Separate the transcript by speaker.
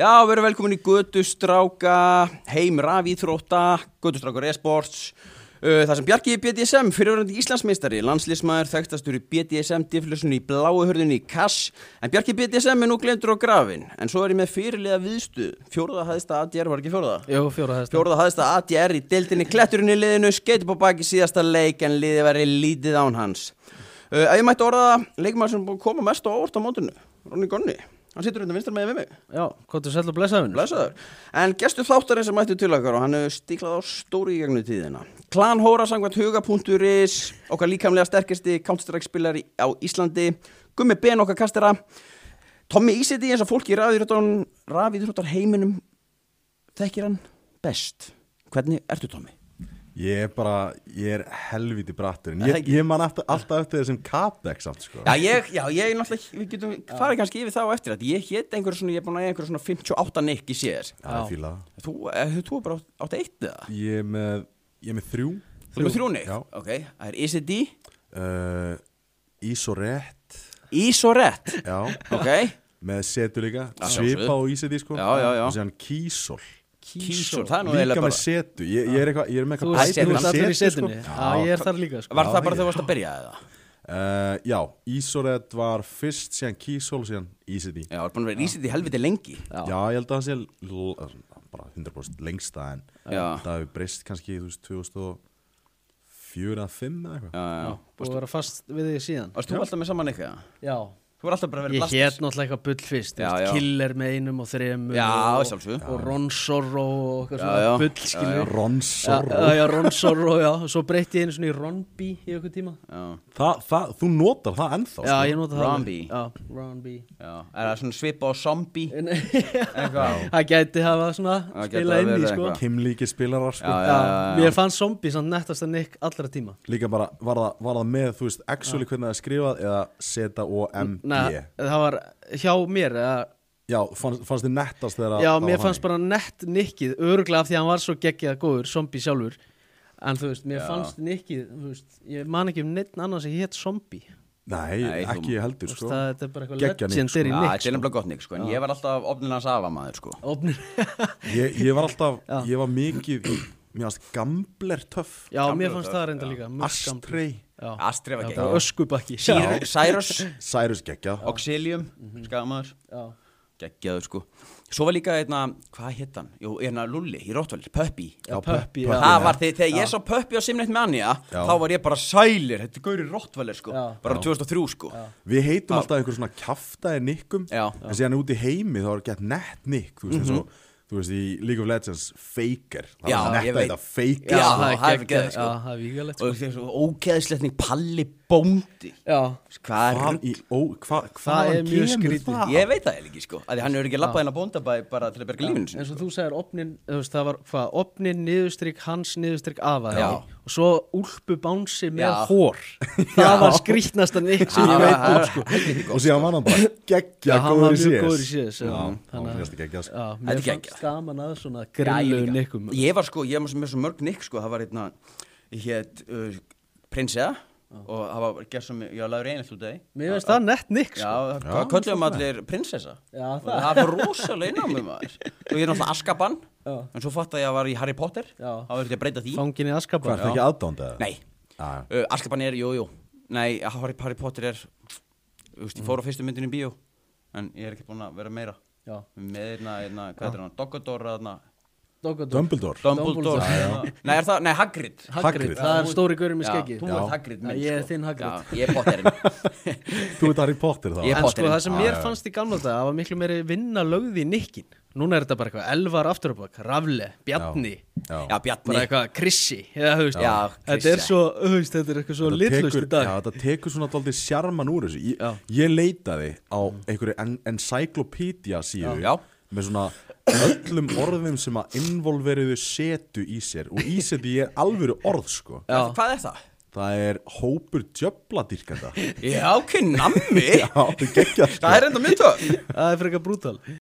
Speaker 1: Já, við erum velkomin í Götustráka, heim rafíþrótta, Götustrákar e-sports uh, Það sem Bjarki í BDSM, fyrirverandi Íslandsmeistari, landslísmaður, þekktastur í BDSM, diflusunni í bláuhörðunni í Kass En Bjarki í BDSM er nú glemtur á grafin, en svo er ég með fyrirlega viðstuð Fjórða hæðista ADR var ekki fjórða?
Speaker 2: Jú, fjóra hæðist
Speaker 1: Fjórða hæðista ADR í deildinni kletturinn í liðinu, skeitur på baki síðasta leik en liðið væri lítið án hans uh, Ef ég mætti orða það, leikmaður sem er búinn að koma mest á óvart á mótinu, Ronny Gonni Hann situr hérna vinstar með mig
Speaker 2: Já, hvað þú sætla að blessa hún?
Speaker 1: Blessaður. En gestu þáttarinn sem mættu til okkar og hann hefur stíklað á stóri í gegnum tíðina. Klan Hóra sangvænt huga.is, okkar líkamlega sterkasti Counter-Strike-spillari á Íslandi, Gummi Ben okkar kastera, Tommy Ísiti eins og fólki í rafíðrjóttar heiminum, þekkir hann best. Hvernig ertu Tommy?
Speaker 3: Ég er bara, ég er helviti brattur en
Speaker 1: Er það
Speaker 3: ég,
Speaker 1: ekki?
Speaker 3: ég man eftir, alltaf eftir þessum Capex allt sko
Speaker 1: Já, ég, já, ég náttúrulega, við getum, farið kannski yfir það og eftir þetta. Ég hétt einhverjum svona, ég er búin að eiga einhverjum svona 58 nikk í sér.
Speaker 3: Það er fíla
Speaker 1: Þú, eh, þú er bara átt- átt eitt eða?
Speaker 3: Ég er með, ég er með þrjú
Speaker 1: Þú er með þrjú nikk?
Speaker 3: Já.
Speaker 1: Ok, það er Ísiti,
Speaker 3: uh, Ísorett
Speaker 1: Ísorett
Speaker 3: Já
Speaker 1: Ok
Speaker 3: Með setu líka
Speaker 1: Já,
Speaker 3: Svipa
Speaker 1: sjálfsögðu.
Speaker 3: og ísiti sko
Speaker 1: Já, já, já.
Speaker 3: Og síðan Kísol
Speaker 1: Kísor, það er nú
Speaker 3: Líka
Speaker 1: eiginlega
Speaker 3: með
Speaker 1: bara
Speaker 3: setu Ég, ég er eitthvað, ég er með
Speaker 2: Þú
Speaker 3: eitthvað
Speaker 1: ert-
Speaker 2: veist,
Speaker 3: bætur
Speaker 2: þú
Speaker 3: með
Speaker 2: veist allir í
Speaker 3: setu, sko.
Speaker 2: setunni Já, ég er þar líka sko
Speaker 1: Var það bara þegar þú varst að byrja eða?
Speaker 3: Uh, Já, Ísorett var fyrst, síðan Kísol, síðan ísiti
Speaker 1: Já, var búin að vera ísitt í helviti lengi
Speaker 3: Já. ég held að það sé l- bara 100% lengsta en
Speaker 1: Já.
Speaker 3: það hefur breyst kannski þú veist 2004 að 5 eða eitthvað.
Speaker 1: Já, já
Speaker 2: Og vera fast við þig síðan
Speaker 1: Varst þú alltaf með saman eitthvað?
Speaker 2: Já
Speaker 1: Þú var alltaf bara að vera
Speaker 2: Ég
Speaker 1: blastast
Speaker 2: hétt náttúrulega eitthvað bull fyrst þú
Speaker 1: Já,
Speaker 2: veist,
Speaker 1: já.
Speaker 2: Killer með einum og þremur
Speaker 1: Já,
Speaker 2: og-
Speaker 1: að sjálfsögðu.
Speaker 2: Og Ronsorro og okkar
Speaker 1: já.
Speaker 2: svona bull
Speaker 3: Já,
Speaker 2: skilur
Speaker 3: Ronsorro.
Speaker 2: Já, já, Ronsorro, já Svo breytti ég einu svona í Ronby í okkur tíma
Speaker 1: Já,
Speaker 3: Þa, það, þú notar það ennþá
Speaker 2: Já,
Speaker 3: sko.
Speaker 2: ég nota það
Speaker 1: Ronby.
Speaker 2: alveg. Já, Ronby
Speaker 1: já Er það svona svipa á zombie?
Speaker 2: En-
Speaker 1: Eitthvað
Speaker 2: Það gæti hafa svona
Speaker 1: Það gæti
Speaker 2: spila
Speaker 1: hafa
Speaker 2: inn í
Speaker 1: verið
Speaker 2: sko
Speaker 1: eitthvað.
Speaker 3: Kimlíki spilarar sko.
Speaker 1: Já,
Speaker 2: Já, mér fannst zombi samt nettast að Nick allra tíma
Speaker 3: Líka bara, var það, var það með, þú veist, actually hvernig það er skrifað eða Z-O-M-B
Speaker 2: Nei, það var hjá mér eða,
Speaker 3: Já, fannst, fannst þið nettast þegar
Speaker 2: Já, mér fannst bara nett Nickið Öruglega af því að hann var svo geggjað góður Zombi sjálfur En þú veist, mér
Speaker 1: Já.
Speaker 2: fannst Nickið þú veist, Ég man ekki um neitt annan sem hétt Zombi
Speaker 3: Nei,
Speaker 1: Nei, þú-
Speaker 3: ekki ég heldur
Speaker 2: sko,
Speaker 3: sko.
Speaker 2: það, Þetta er bara
Speaker 3: Geggjað
Speaker 2: eitthvað
Speaker 3: Nick,
Speaker 2: legendary
Speaker 1: Já,
Speaker 2: Nick
Speaker 1: þetta er nefnilega gott nýtt sko En ég var alltaf ofnin hans afa maður sko
Speaker 2: Ofnir
Speaker 3: ég, ég var alltaf, ég var mikið Mér fannst gambler töff
Speaker 2: Já,
Speaker 1: Gamla
Speaker 2: mér fannst
Speaker 1: þetta.
Speaker 2: það reynda líka mörg gamla.
Speaker 3: Astrey,
Speaker 2: Já.
Speaker 1: Astrid var
Speaker 2: Já,
Speaker 1: gegn
Speaker 2: bara Öskubakki
Speaker 1: Sýr- Cyrus
Speaker 3: Cyrus geggja
Speaker 1: Oxilium Skamaður
Speaker 2: Já.
Speaker 1: Geggjaður sko Svo var líka einna Hvað hétt hann? Jú, hérna Lulli í Rottvalir Pöppi
Speaker 2: Já, Pöppi, já.
Speaker 1: Það var þegar, þegar ég sá Pöppi á Simnet með Anja Þá var ég bara sælir, þetta er gauri Rottweiler sko
Speaker 2: Já.
Speaker 1: Bara 2003 sko Já,
Speaker 3: Við heitum alltaf einhver svona kjaftaði nikkum
Speaker 1: Já. Mhm.
Speaker 3: En síðan út í heimi þá er gett nett nikk Þú veist eins og Þú veist í League of Legends Faker Það
Speaker 1: Já,
Speaker 3: er
Speaker 1: ég
Speaker 3: nett að
Speaker 1: veit.
Speaker 3: þetta faker
Speaker 1: Já,
Speaker 2: það
Speaker 1: það er
Speaker 2: er
Speaker 1: geggjað,
Speaker 2: geggjað
Speaker 1: sko.
Speaker 2: Já, það er vígalegt sko.
Speaker 1: Og þegar svo ógeðsletning Palli Bóndi
Speaker 2: Já,
Speaker 1: Hvað er
Speaker 3: Hvað í ó hva,
Speaker 2: Það er
Speaker 3: Hvaðan
Speaker 2: mjög
Speaker 3: kemur
Speaker 2: skrítið.
Speaker 3: það?
Speaker 1: Ég veit það eiginlega ekki sko Af Því hann er ekki labbað inn á bóndabæ bara til að berga lífinu
Speaker 2: En
Speaker 1: sinni
Speaker 2: svo þú segir opnin, þú veist, það var hvað, opnin, niðurstrykk, hans, niðurstrykk, afa
Speaker 1: Já.
Speaker 2: ekki? Og svo úlpu bánsi með
Speaker 1: Já.
Speaker 2: hór Það var skrýtnasta nikk sem ég veit um sko
Speaker 3: Og síðan var hann bara geggja
Speaker 2: Já, hann var
Speaker 3: góður í
Speaker 2: mjög góður í
Speaker 3: CS
Speaker 2: síðis
Speaker 3: Já, hann
Speaker 2: þannig
Speaker 3: var sko.
Speaker 2: að-
Speaker 3: mjög geggja
Speaker 2: Já,
Speaker 1: Þetta
Speaker 2: mér
Speaker 1: er geggjað.
Speaker 2: fannst gaman að svona
Speaker 1: Já, ég
Speaker 2: grillu
Speaker 1: líka.
Speaker 2: nikkum
Speaker 1: Ég var sko, ég var með svo mörg nikk sko Það var hérna, ég hétt uh, Prinsea Og það var gerð sem, ég var laður einhvern út af því
Speaker 2: Mér finnst það nett nikk
Speaker 1: Já,
Speaker 2: sko
Speaker 1: hvað köllum allir prinsessa
Speaker 2: Já,
Speaker 1: Og
Speaker 2: það-
Speaker 1: það var rosalega innan með maður Og ég er náttúrulega Askaban
Speaker 2: Já.
Speaker 1: En svo fatt að ég var í Harry Potter
Speaker 2: Já.
Speaker 1: Þá verður ég að breyta því
Speaker 2: Fangin í
Speaker 3: Hvað,
Speaker 2: Askabar
Speaker 3: ertu ekki aðdándið?
Speaker 1: Nei,
Speaker 3: Já.
Speaker 1: uh, Askaban er, jú, jú Nei, Harry, Harry Potter er Þú veist, ég fór á fyrstu myndinu í bíó En ég er ekki búinn að vera meira
Speaker 2: Já.
Speaker 1: Með einna, einna, hvað er hann, Dogodor einna,
Speaker 2: Dogodor
Speaker 3: Dumbledore
Speaker 1: Dumbledore Nei, er það, nei, Hagrid
Speaker 3: Hagrid.
Speaker 2: Hagrid, það er stóri gaurum í
Speaker 1: Já,
Speaker 2: skeggi
Speaker 1: Þú ert Hagrid minn,
Speaker 2: Já, ég er
Speaker 1: sko.
Speaker 2: þinn Hagrid.
Speaker 1: Já, ég er Potterinn
Speaker 3: Þú ert Harry Potter þá
Speaker 1: Ég-
Speaker 2: En sko
Speaker 1: Potterinn.
Speaker 2: það sem mér fannst í gamla dag Það var miklu meiri vinna lögð í nikkin Núna er þetta bara eitthvað Elvar afturabak, Rafle, Bjarni
Speaker 1: Já, Bjarni
Speaker 2: Bara eitthvað Krissi Já, þú veist,
Speaker 1: Já,
Speaker 2: Þetta
Speaker 1: Krissi.
Speaker 2: er svo, þú veist, þetta er eitthvað svo
Speaker 3: Þetta
Speaker 2: litlust
Speaker 3: tekur-
Speaker 2: í dag
Speaker 3: já, þetta tekur svona daldið sjarman úr þessu ég,
Speaker 2: Já. Mm.
Speaker 3: ég leitaði á einhverju en encyclopedia síðu
Speaker 1: Já. Já.
Speaker 3: með svona öllum orðum sem að involveriðu setu í sér og í setu ég er alvöru orð sko
Speaker 2: Já.
Speaker 1: Hvað er það?
Speaker 3: það er hópur djöfladýrkenda
Speaker 1: Já, ok, nammi
Speaker 3: já, þú geggja sko
Speaker 1: Það er enda mitt höf
Speaker 2: Það er frekar brútal